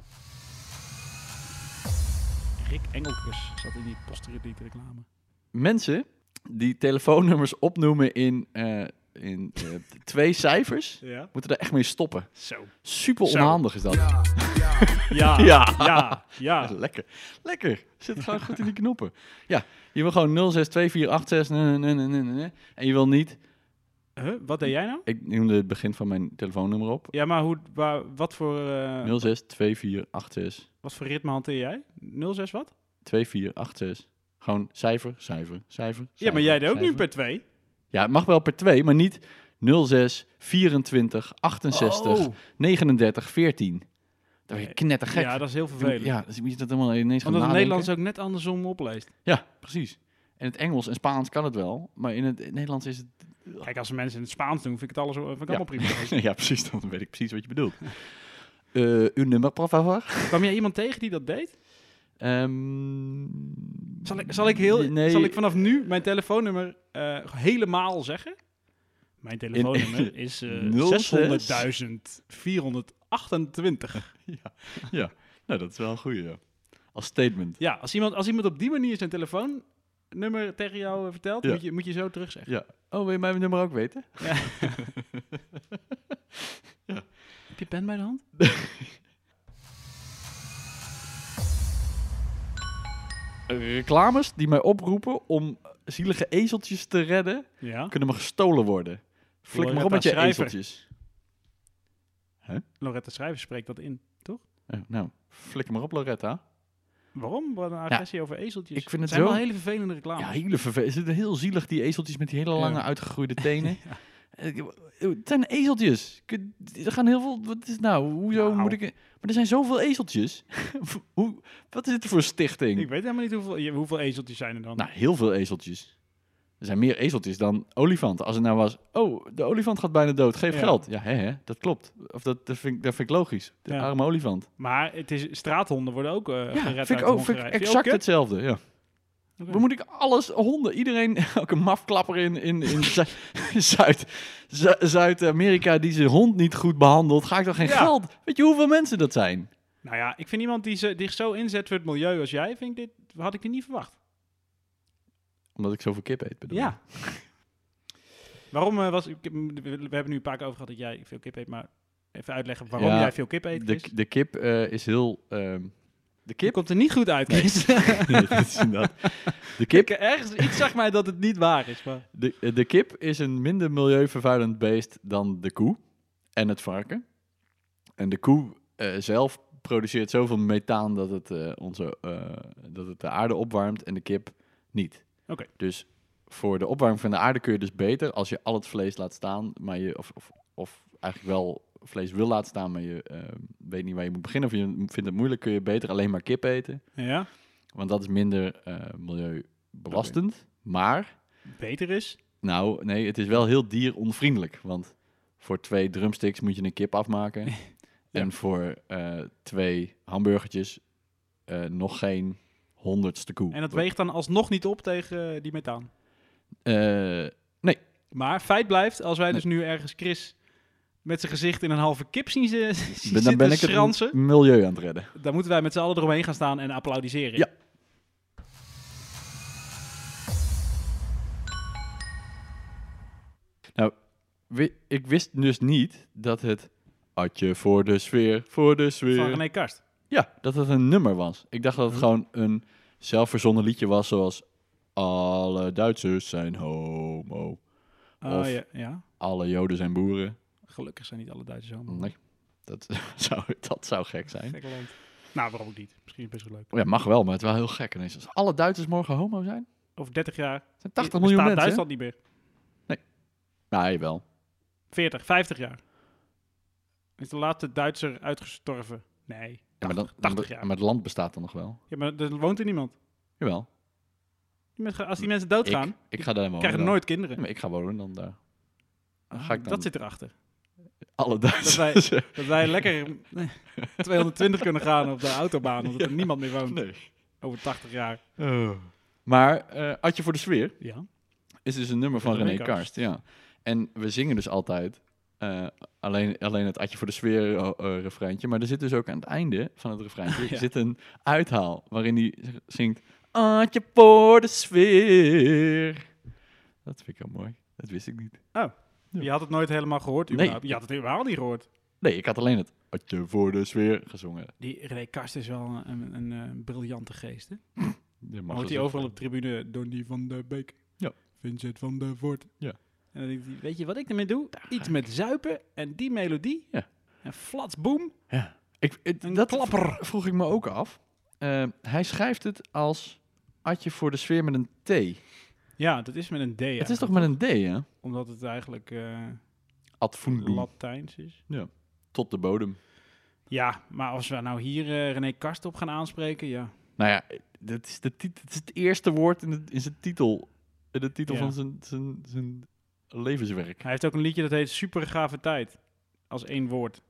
A: Rick Engelkes zat in die postkrediet reclame.
B: mensen die telefoonnummers opnoemen in, eh, in eh, twee cijfers,
A: Ja.
B: moeten daar echt mee stoppen.
A: Zo.
B: Super
A: Zo.
B: onhandig is dat.
A: Ja.
B: Ja.
A: Ja. Ja. ja.
B: Lekker. Lekker. Zit gewoon goed in die knoppen. Ja, je wil gewoon 062486 nee, nee, nee, nee, nee, nee. en je wil niet...
A: Huh, wat deed jij nou?
B: Ik noemde het begin van mijn telefoonnummer op.
A: Ja, maar hoe, waar, wat, voor, eh,
B: 062486
A: wat voor ritme hanteer jij? 06 wat?
B: 2486. Gewoon cijfer, cijfer, cijfer.
A: ja, maar
B: cijfer,
A: jij deed ook
B: cijfer.
A: nu per twee.
B: Ja, het mag wel per twee, maar niet 06, 24, 68,
A: Oh.
B: 39, 14. Daar ben je knettergek.
A: Ja, dat is heel vervelend.
B: Ja, dus moet je dat helemaal ineens
A: Omdat het
B: gaan nadenken.
A: Nederlands ook net andersom opleest.
B: Ja, precies. In het Engels en Spaans kan het wel, maar in het Nederlands is het...
A: Kijk, als mensen in het Spaans doen, vind ik het alles, vind ik allemaal prima.
B: ja, precies, dan weet ik precies wat je bedoelt. Eh uw nummer, por favor.
A: Kwam jij iemand tegen die dat deed?
B: Ehm,
A: Zal ik, zal ik, heel,
B: Nee.
A: zal ik vanaf nu mijn telefoonnummer eh, helemaal zeggen? Mijn telefoonnummer is eh 600.428.
B: ja, nou, dat is wel een goeie, ja. Als statement.
A: Ja, als iemand, als iemand op die manier zijn telefoonnummer tegen jou eh, vertelt,
B: Ja.
A: moet, je, moet je zo terugzeggen.
B: Ja. Oh, wil je mijn nummer ook weten?
A: Heb je pen bij de hand?
B: reclames die mij oproepen om zielige ezeltjes te redden,
A: Ja.
B: kunnen me gestolen worden. Flik maar op
A: Loretta
B: met je
A: Schrijver.
B: ezeltjes.
A: Loretta Schrijver spreekt dat in, toch?
B: Eh, nou, flik maar op, Loretta.
A: Waarom? Wat een agressie over ezeltjes.
B: ik vind het
A: zijn
B: zo-
A: wel hele vervelende reclames.
B: Ja, hele vervelend. Het is heel zielig, die ezeltjes met die hele lange
A: Ja.
B: uitgegroeide tenen. Eh, Het zijn ezeltjes. Kun- Er gaan heel veel... Wat is het nou? Hoezo
A: Nou.
B: moet ik... Maar er zijn zoveel ezeltjes. Hoe, wat is het voor stichting?
A: Ik weet helemaal niet hoeveel, je- hoeveel ezeltjes zijn er dan.
B: Nou, heel veel ezeltjes. Er zijn meer ezeltjes dan olifanten. Als het nou was, oh, de olifant gaat bijna dood, geef
A: Ja.
B: geld. Ja, hè, hè, dat klopt. Of dat, dat, vind, ik- dat vind ik logisch. De
A: Ja.
B: arme olifant.
A: Maar het is, straathonden worden ook eh gered
B: ja, vind ik
A: uit
B: ook vind ik
A: Hongarije. Vind je
B: exact
A: ook kut?
B: hetzelfde. Ja.
A: Oké.
B: Waar moet ik alles, honden, iedereen, elke mafklapper in, in, in Zu- Zuid, Zu- Zuid-Amerika die zijn hond niet goed behandelt, ga ik toch geen
A: Ja.
B: geld? Weet je hoeveel mensen dat zijn?
A: Nou ja, ik vind iemand die zich die zich zo inzet voor het milieu als jij, vind ik dit, had ik dit niet verwacht.
B: Omdat ik zoveel kip eet, bedoel ik.
A: Ja. waarom eh, was... ik heb- We hebben nu een paar keer over gehad dat jij veel kip eet, maar even uitleggen waarom
B: Ja,
A: jij veel kip eet. Chris.
B: De, de kip eh, is heel... ehm,
A: Je
B: de kip?
A: komt er niet goed uit, Chris.
B: Nee, dat is inderdaad- de
A: Ik,
B: kip,
A: ergens, iets zag mij dat het niet waar is, maar...
B: de, de kip is een minder milieuvervuilend beest dan de koe en het varken. En de koe eh, zelf produceert zoveel methaan dat het, eh, onze, eh, dat het de aarde opwarmt en de kip niet.
A: Oké.
B: Dus voor de opwarming van de aarde kun je dus beter als je al het vlees laat staan, maar je, of, of, of eigenlijk wel vlees wil laten staan, maar je eh, weet niet waar je moet beginnen of je vindt het moeilijk, kun je beter alleen maar kip eten.
A: Ja,
B: Want dat is minder eh, milieubelastend. Maar,
A: beter is.
B: nou nee, het is wel heel dieronvriendelijk. Want voor twee drumsticks moet je een kip afmaken. En voor eh, twee hamburgertjes eh, nog geen honderdste koe.
A: En dat weegt dan alsnog niet op tegen eh, die methaan.
B: Eh,
A: Maar feit blijft, als wij dus nu ergens Chris met zijn gezicht in een halve kip zien, ze, zien
B: ben, dan ben
A: zitten
B: ik het
A: schransen,
B: m- milieu aan het redden.
A: dan moeten wij met z'n allen eromheen gaan staan en applaudisseren.
B: Ja. Wi- ik wist dus niet dat het... Atje voor de sfeer, voor de sfeer.
A: Van René Karst.
B: Ja, dat het een nummer was. Ik dacht dat het gewoon een zelfverzonnen liedje was, zoals alle Duitsers zijn homo,
A: Oh,
B: Of-
A: ja, ja.
B: alle Joden zijn boeren.
A: Gelukkig zijn niet alle Duitsers zo.
B: Nee, dat zou, dat zou gek zijn.
A: Gekke land. Nou, waarom ook niet? Misschien best wel leuk.
B: Oh Ja, mag wel, maar het is wel heel gek. ineens. Als alle Duitsers morgen homo zijn,
A: Over 30 jaar
B: Het zijn 80
A: bestaat
B: miljoen mensen. Nou,
A: Duitsland niet meer.
B: hè? Nee, wel.
A: 40, 50 jaar. Is de laatste Duitser uitgestorven? Nee, 80,
B: Ja, maar, dan,
A: 80 jaar.
B: maar het land bestaat dan nog wel.
A: Ja, maar er woont er niemand.
B: Jawel.
A: Die mensen- Als die mensen doodgaan,
B: Ik, ik ga daar wonen.
A: krijgen
B: dan.
A: nooit
B: Ja,
A: kinderen.
B: maar ik ga wonen dan daar. Dan ga ik dan
A: Dat zit erachter.
B: alle Duitsers.
A: Dat Dat wij lekker 220 kunnen gaan op de autobaan, omdat er niemand meer woont
B: nee.
A: over 80 jaar.
B: Maar eh Atje voor de sfeer.
A: Ja.
B: is dus een nummer van
A: René
B: René Karst.
A: Karst.
B: ja. En we zingen dus altijd eh, alleen, alleen het Atje voor de sfeer eh, eh, refreintje. Maar er zit dus ook aan het einde van het refreintje
A: Ja.
B: zit een uithaal waarin hij z- zingt Atje voor de sfeer. Dat vind ik wel mooi. Dat wist ik niet.
A: Je had het nooit helemaal gehoord.
B: Nee.
A: überhaupt. Je had het helemaal niet gehoord.
B: Nee, ik had alleen het Atje voor de sfeer gezongen.
A: Die René Karst is wel een, een, eh, briljante geest. Hè?
B: Je mag
A: Hoort hij
B: dus-
A: overal op de tribune Donny van der Beek.
B: Ja.
A: Vincent van der Voort.
B: Ja.
A: En dan denkt hij, weet je wat ik ermee doe? Iets met zuipen en die melodie.
B: Ja.
A: En flats boom.
B: Ja. Ik, het-
A: Een
B: dat
A: klapper.
B: v- vroeg ik me ook af. Eh, hij schrijft het als Atje voor de sfeer met een T.
A: Ja, dat is met een D.
B: het is toch met een D, hè?
A: Omdat het eigenlijk eh,
B: Advoendum.
A: Latijns is.
B: Tot de bodem.
A: Ja, maar als we nou hier eh, René Karst op gaan aanspreken, ja.
B: Nou ja, dat is, de tit- het is het eerste woord in, het, in zijn titel. In de titel
A: Ja.
B: van zijn, zijn, zijn levenswerk.
A: Hij heeft ook een liedje dat heet Super Gave Tijd. Als één woord.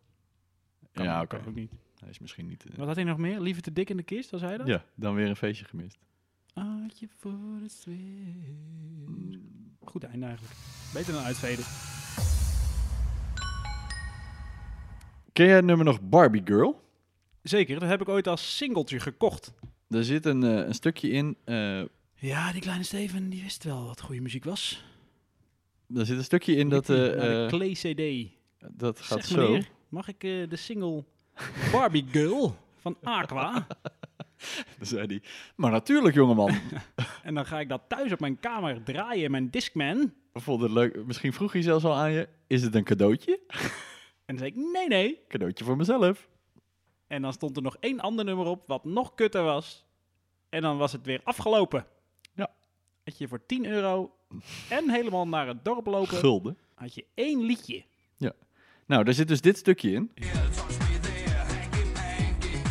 A: Kan
B: ja,
A: ook,
B: oké.
A: kan ook niet.
B: Hij is misschien niet... eh,
A: Wat had hij nog meer? Liever te dik in de kist, was hij dat?
B: ja, dan weer een feestje gemist.
A: Aardje voor de sfeer. Mm, Goed einde eigenlijk. Beter dan uitveden.
B: Ken jij het nummer nog Barbie Girl?
A: Zeker, dat heb ik ooit als singeltje gekocht.
B: Daar zit een, eh, een stukje in... eh,
A: Ja, die kleine Steven, die wist wel wat goede muziek was.
B: daar zit een stukje in dat... eh, eh,
A: Clay CD.
B: dat
A: zeg
B: gaat zo.
A: meneer, mag ik eh, de single Barbie Girl van Aqua?
B: Dan zei hij... Maar natuurlijk, jongeman.
A: En dan ga ik dat thuis op mijn kamer draaien in mijn Discman.
B: Vond het leuk. Misschien vroeg hij zelfs al aan je... Is het een cadeautje?
A: En dan zei ik, nee, nee.
B: Cadeautje voor mezelf.
A: En dan stond er nog één ander nummer op, wat nog kutter was. En dan was het weer afgelopen.
B: Ja.
A: Had je voor 10 euro en helemaal naar het dorp lopen,
B: Gulden.
A: had je één liedje.
B: Nou, daar zit dus dit stukje in.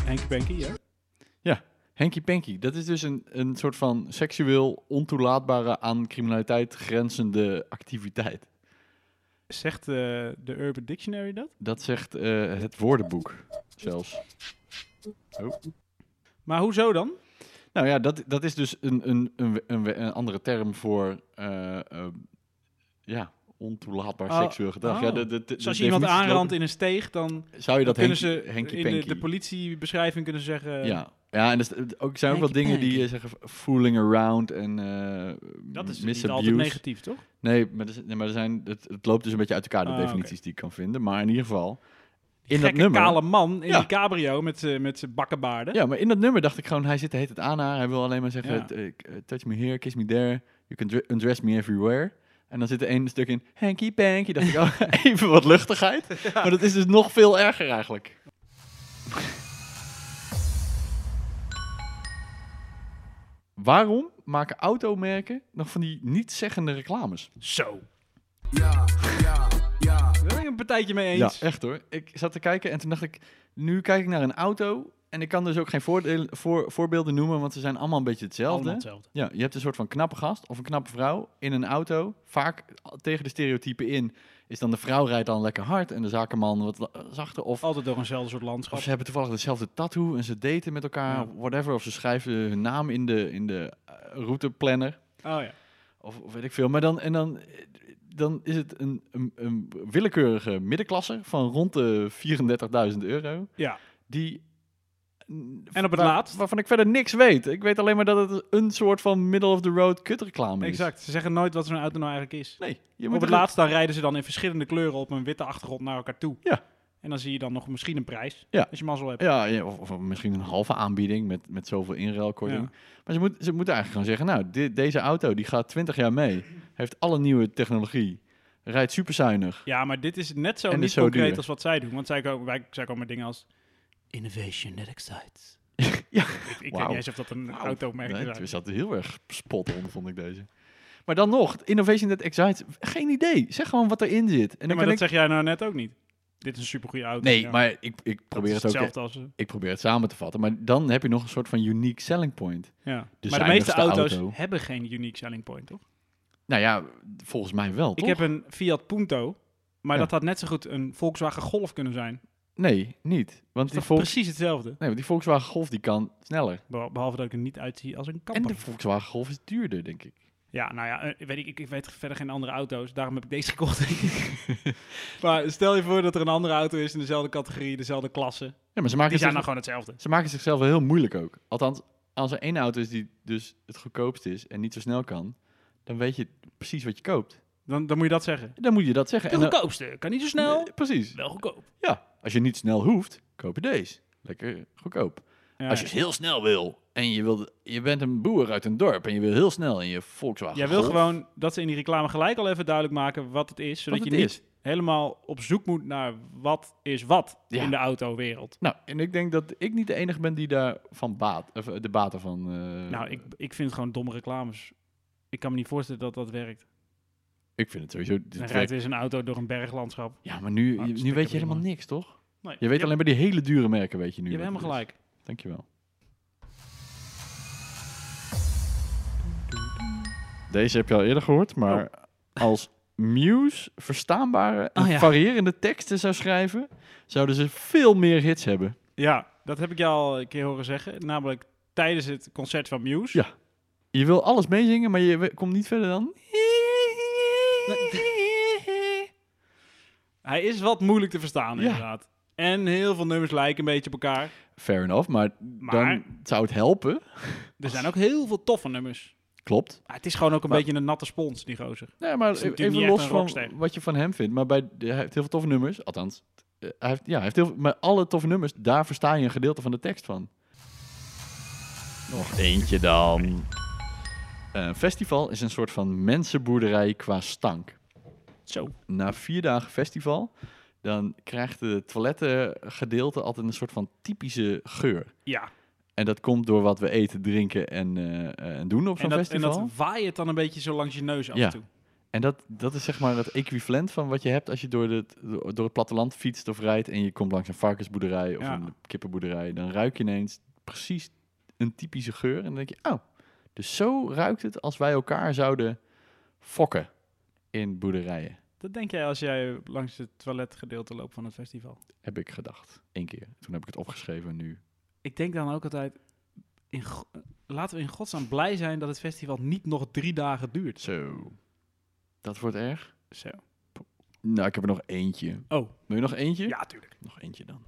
A: Henk Benkie, ja.
B: Ja, Henky Panky. Dat is dus een, een soort van seksueel ontoelaatbare aan criminaliteit grenzende activiteit.
A: Zegt eh, de Urban Dictionary dat?
B: Dat zegt eh, het woordenboek zelfs.
A: Maar hoezo dan? Dus
B: Nou ja, dat, dat is dus een, een, een, een, een andere term voor eh, eh, ja, ontoelaatbaar
A: Oh,
B: seksueel gedrag.
A: oh.
B: Ja, de, de, de-
A: Dus als je
B: de
A: iemand
B: definities
A: aanrandt
B: lopen-
A: in een steeg, dan
B: zou je dat
A: kunnen
B: Henkie-
A: ze
B: Henkie
A: in de,
B: Pankie.
A: de politiebeschrijving kunnen ze zeggen...
B: ja. ja, en er st- ook, zijn ook wel
G: Henkie
B: dingen die
G: Pankie.
B: eh, zeggen fooling around en eh
A: Dat is niet altijd
B: misabuse.
A: negatief, toch?
B: Nee, maar, er, zijn- nee, maar er zijn, het, het loopt dus een beetje uit elkaar, de
A: Ah, oké.
B: definities die ik kan vinden. Maar in ieder geval,
A: Die
B: in dat
A: gekke
B: nummer...
A: kale man in
B: Ja.
A: die cabrio met z'n- met zijn bakkenbaarden.
B: Ja, maar in dat nummer dacht ik gewoon, hij zit de hele tijd aan haar. Hij wil alleen maar zeggen,
A: Ja.
B: t- eh, k- eh, touch me here, kiss me there. You can dr- undress me everywhere. En dan zit er één stuk in, hanky panky. Dacht ik, oh, even wat luchtigheid. Maar dat is dus nog veel erger eigenlijk. Waarom maken automerken nog van die niet-zeggende reclames?
A: Zo. Daar ben ik een partijtje mee
B: Ja,
A: eens.
B: echt hoor. Ik zat te kijken en toen dacht ik, nu kijk ik naar een auto... En ik kan dus ook geen voordelen- voor, voorbeelden noemen, want ze zijn allemaal een beetje hetzelfde.
A: Allemaal hetzelfde.
B: Ja, je hebt een soort van knappe gast of een knappe vrouw in een auto. Vaak tegen de stereotypen in is dan de vrouw rijdt dan lekker hard en de zakenman wat la- zachter. Of,
A: Altijd door eenzelfde soort landschap.
B: of ze hebben toevallig hetzelfde tattoo en ze daten met elkaar,
A: Oh, Ja.
B: whatever. Of ze schrijven hun naam in de, in de eh, routeplanner
A: Oh ja.
B: of, of weet ik veel. Maar dan, en dan, eh, dan is het een, een, een willekeurige middenklasse van rond de 34.000 euro.
A: Ja.
B: Die
A: En op het
B: waar-
A: laatst?
B: Waarvan ik verder niks weet. Ik weet alleen maar dat het een soort van middle-of-the-road kutreclame is.
A: Exact. Ze zeggen nooit wat zo'n auto nou eigenlijk is.
B: Nee, je
A: op
B: moet
A: het
B: er-
A: laatst dan rijden ze dan in verschillende kleuren op een witte achtergrond naar elkaar toe.
B: Ja.
A: En dan zie je dan nog misschien een prijs.
B: Ja.
A: Als je mazzel hebt.
B: Ja, ja, of, of misschien een halve aanbieding met, met zoveel inruilkorting.
A: Ja.
B: Maar ze, moet, ze moeten eigenlijk gewoon zeggen, nou, di- deze auto die gaat 20 jaar mee. Heeft alle nieuwe technologie. Rijdt superzuinig.
A: Ja, maar dit is net zo
B: En
A: niet
B: is zo
A: concreet
B: duur.
A: als wat zij doen. Want zij komen, wij, zij komen met dingen als...
G: Innovation that excites.
B: ja,
A: Ik, ik weet
B: Wauw.
A: niet eens of dat een
B: Wauw.
A: automerk
B: Nee,
A: is.
B: het
A: eigenlijk.
B: zat heel erg spot on, vond ik deze. Maar dan nog, Innovation That Excites, geen idee. Zeg gewoon wat erin zit. En
A: Ja,
B: dan
A: maar
B: kan
A: dat
B: ik...
A: zeg jij nou net ook niet. Dit is een supergoeie auto.
B: Nee,
A: Ja,
B: maar ik, ik,
A: dat
B: probeer
A: is
B: het ook,
A: hetzelfde als... eh,
B: ik probeer het samen te vatten. Maar dan heb je nog een soort van unique selling point.
A: Ja.
B: De
A: maar de meeste
B: zuinigste
A: auto's
B: auto.
A: hebben geen unique selling point, toch?
B: Nou ja, volgens mij wel,
A: Ik
B: toch?
A: heb een Fiat Punto, maar
B: Ja.
A: dat had net zo goed een Volkswagen Golf kunnen zijn.
B: Nee, niet. Want
A: Dat
B: die,
A: is
B: Vol-
A: toch precies hetzelfde.
B: nee, want die Volkswagen Golf die kan sneller.
A: Beh- Behalve dat ik er niet uitzie als een
B: En
A: kapper.
B: de Volkswagen Golf is duurder, denk ik.
A: Ja, nou ja, eh, weet ik, ik, ik weet verder geen andere auto's. Daarom heb ik deze gekocht. denk ik. maar stel je voor dat er een andere auto is in dezelfde categorie, dezelfde klasse.
B: Ja, maar ze maken,
A: Die zijn dan
B: zich,
A: gewoon hetzelfde.
B: ze maken zichzelf wel heel moeilijk ook. Althans, als er één auto is die dus het goedkoopst is en niet zo snel kan, dan weet je precies wat je koopt.
A: Dan, dan moet je dat zeggen.
B: Dan moet je dat zeggen.
A: De
B: En dan-
A: goedkoopste. Kan niet zo snel.
B: Nee, precies.
A: Wel goedkoop.
B: Ja, als je niet snel hoeft, koop je deze. Lekker goedkoop.
A: Ja,
B: Als je
A: ja.
B: het heel snel wil en je, wilt, je bent een boer uit een dorp en je wil heel snel in je Volkswagen
A: Jij wil
B: Golf,
A: gewoon dat ze in die reclame gelijk al even duidelijk maken wat het is. Zodat
B: wat
A: je
B: het
A: niet
B: is.
A: helemaal op zoek moet naar wat is wat
B: Ja.
A: in de autowereld.
B: Nou, en ik denk dat ik niet de enige ben die daar van baat, of eh, de baten van... eh,
A: Nou, ik, ik vind het gewoon domme reclames. Ik kan me niet voorstellen dat dat werkt.
B: ik vind het sowieso... dit
A: Dan
B: werkt-
A: rijdt weer een auto door een berglandschap.
B: Ja, maar nu,
A: Ah,
B: nu
A: stikker
B: weet je
A: prima.
B: helemaal niks, toch?
A: Nee,
B: Je weet
A: hebt-
B: alleen maar die hele dure merken, weet je nu.
A: Je hebt
B: wat
A: helemaal
B: het is.
A: gelijk.
B: Dankjewel. Deze heb je al eerder gehoord, maar als Muse verstaanbare en
G: Oh ja.
B: variërende teksten zou schrijven, zouden ze veel meer hits hebben.
A: Ja, dat heb ik jou al een keer horen zeggen. Namelijk tijdens het concert van Muse.
B: Ja. Je wil alles meezingen, maar je we- komt niet verder dan.
A: Hij is wat moeilijk te verstaan,
B: Ja.
A: inderdaad. En heel veel nummers lijken een beetje op elkaar.
B: Fair enough, maar,
A: Maar-
B: dan zou het helpen.
A: Er zijn ook heel veel toffe nummers.
B: Klopt.
A: Maar het is gewoon ook een
B: Maar-
A: beetje een natte spons, die gozer.
B: Nee, maar
A: Is natuurlijk
B: even
A: niet echt
B: los
A: een
B: van
A: rockster.
B: wat je van hem vindt. Maar bij, hij heeft heel veel toffe nummers, althans. eh, Hij heeft, ja, hij heeft heel, veel- maar alle toffe nummers, daar versta je een gedeelte van de tekst van. Nog eentje dan. Een festival is een soort van mensenboerderij qua stank.
A: Zo.
B: Na vier dagen festival, dan krijgt de toilettengedeelte altijd een soort van typische geur.
A: Ja.
B: En dat komt door wat we eten, drinken en, eh, eh, en doen op
A: En
B: zo'n
A: dat, en
B: festival.
A: dat waait het dan een beetje zo langs je neus af
B: Ja.
A: en toe.
B: En dat, dat is zeg maar het equivalent van wat je hebt als je door, de, door het platteland fietst of rijdt en je komt langs een varkensboerderij of
A: Ja.
B: een kippenboerderij. Dan ruik je ineens precies een typische geur en dan denk je, oh, dus zo ruikt het als wij elkaar zouden fokken in boerderijen.
A: Dat denk jij als jij langs het toiletgedeelte loopt van het festival.
B: Heb ik gedacht. Eén keer. Toen heb ik het opgeschreven en nu.
A: Ik denk dan ook altijd, in go- laten we in godsnaam blij zijn dat het festival niet nog drie dagen duurt.
B: Zo. Dat wordt erg.
A: Zo.
B: Nou, ik heb er nog eentje.
A: Oh,
B: Wil je nog eentje?
A: ja, tuurlijk.
B: Nog eentje dan.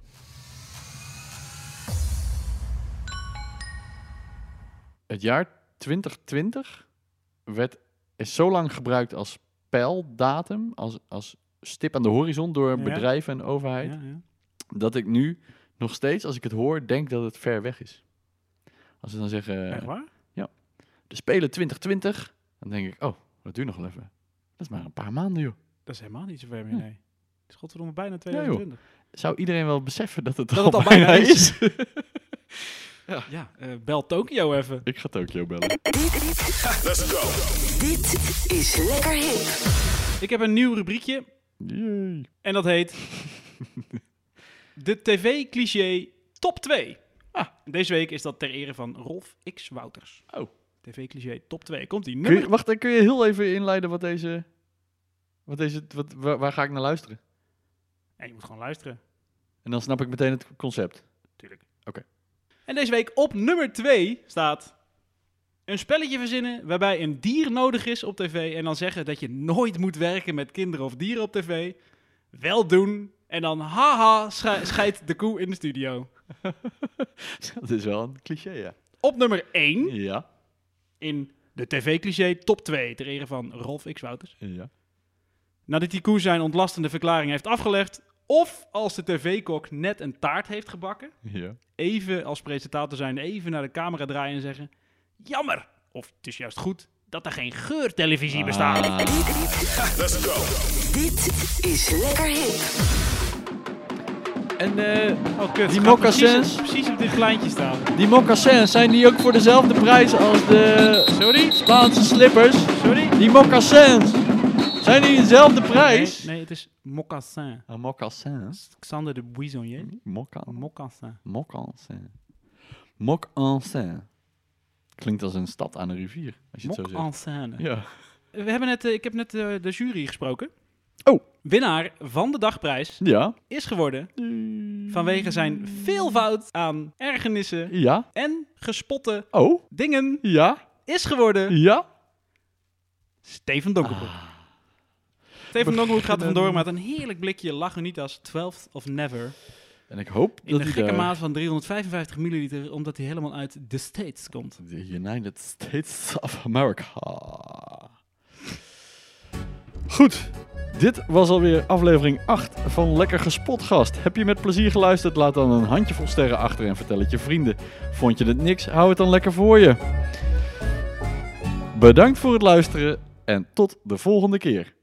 B: Het jaar 2020 werd, is zo lang gebruikt als pijldatum, als, als stip aan de horizon door
A: Ja.
B: bedrijven en overheid,
A: Ja, ja.
B: dat ik nu nog steeds, als ik het hoor, denk dat het ver weg is. Als ze dan zeggen,
A: Echt waar?
B: de Spelen 2020, dan denk ik, oh, dat duurt nog wel even. Dat is maar een paar maanden, joh.
A: Dat is helemaal niet zo ver meer,
B: Nee.
A: nee. Het is godverdomme bijna
B: joh.
A: 2020.
B: Zou iedereen wel beseffen dat het,
A: Dat
B: al,
A: het al
B: bijna,
A: bijna
B: is?
A: Ja, eh, bel Tokio even.
B: ik ga Tokio bellen.
E: Dit, dit, dit is lekker hip.
A: Ik heb een nieuw rubriekje
B: Yay.
A: en dat heet de tv-cliché top 2. Ah, deze week is dat ter ere van Rolf X. Wouters.
B: Oh.
A: TV-cliché top 2. Komt die
B: Kun je,
A: nummer?
B: wacht, eh, kun je heel even inleiden wat deze... Wat deze wat, wa- waar, ga ik naar luisteren?
A: Ja, je moet gewoon luisteren.
B: En dan snap ik meteen het concept.
A: Tuurlijk.
B: Oké.
A: En deze week op nummer 2 staat een spelletje verzinnen waarbij een dier nodig is op tv en dan zeggen dat je nooit moet werken met kinderen of dieren op tv. Wel doen en dan haha schi- scheidt de koe in de studio.
B: Dat is wel een cliché, ja.
A: Op nummer 1
B: Ja,
A: in de tv-cliché top 2 ter ere van Rolf X. Wouters.
B: ja.
A: Nadat die koe zijn ontlastende verklaring heeft afgelegd of als de tv-kok net een taart heeft gebakken.
B: ja.
A: even als presentator zijn, even naar de camera draaien en zeggen: Jammer! Of het is juist goed dat er geen geurtelevisie
B: Ah.
A: bestaat.
E: Dit is lekker hip.
B: En eh,
A: Oh, kut. Het gaat
B: Die
A: precies-
B: mocassins.
A: Precies op dit kleintje staan.
B: die mocassins, zijn die ook voor dezelfde prijs als de
A: Sorry,
B: Spaanse slippers?
A: sorry.
B: Die mocassins, zijn die dezelfde prijs?
A: Nee, nee, het is mocassin.
B: Ah, mocassins.
A: Xander de Buisonnier.
B: Mocca-
A: Mocassin.
B: Mocassins. Mocassins. Klinkt als een stad aan een rivier, als je het zo zegt.
A: Mocassin.
B: Ja.
A: We hebben net, eh, ik heb net eh, de jury gesproken.
B: Oh.
A: Winnaar van de dagprijs
B: Ja.
A: is geworden vanwege zijn veelvoud aan ergernissen
B: Ja.
A: en gespotte
B: Oh.
A: dingen
B: Ja.
A: is geworden
B: Ja.
A: Steven Donkerbroek. Steven Donkerbroek gaat er vandoor Ah. met een heerlijk blikje Lagunitas 12th of Never.
B: En ik hoop
A: In
B: dat
A: de
B: hij
A: gekke
B: daar-
A: maat van 355 milliliter, omdat hij helemaal uit de States komt.
B: The United States of America. Goed, dit was alweer aflevering 8 van Lekker Gespot Gast. Heb je met plezier geluisterd? Laat dan een handjevol sterren achter en vertel het je vrienden. Vond je het niks? Hou het dan lekker voor je. Bedankt voor het luisteren en tot de volgende keer.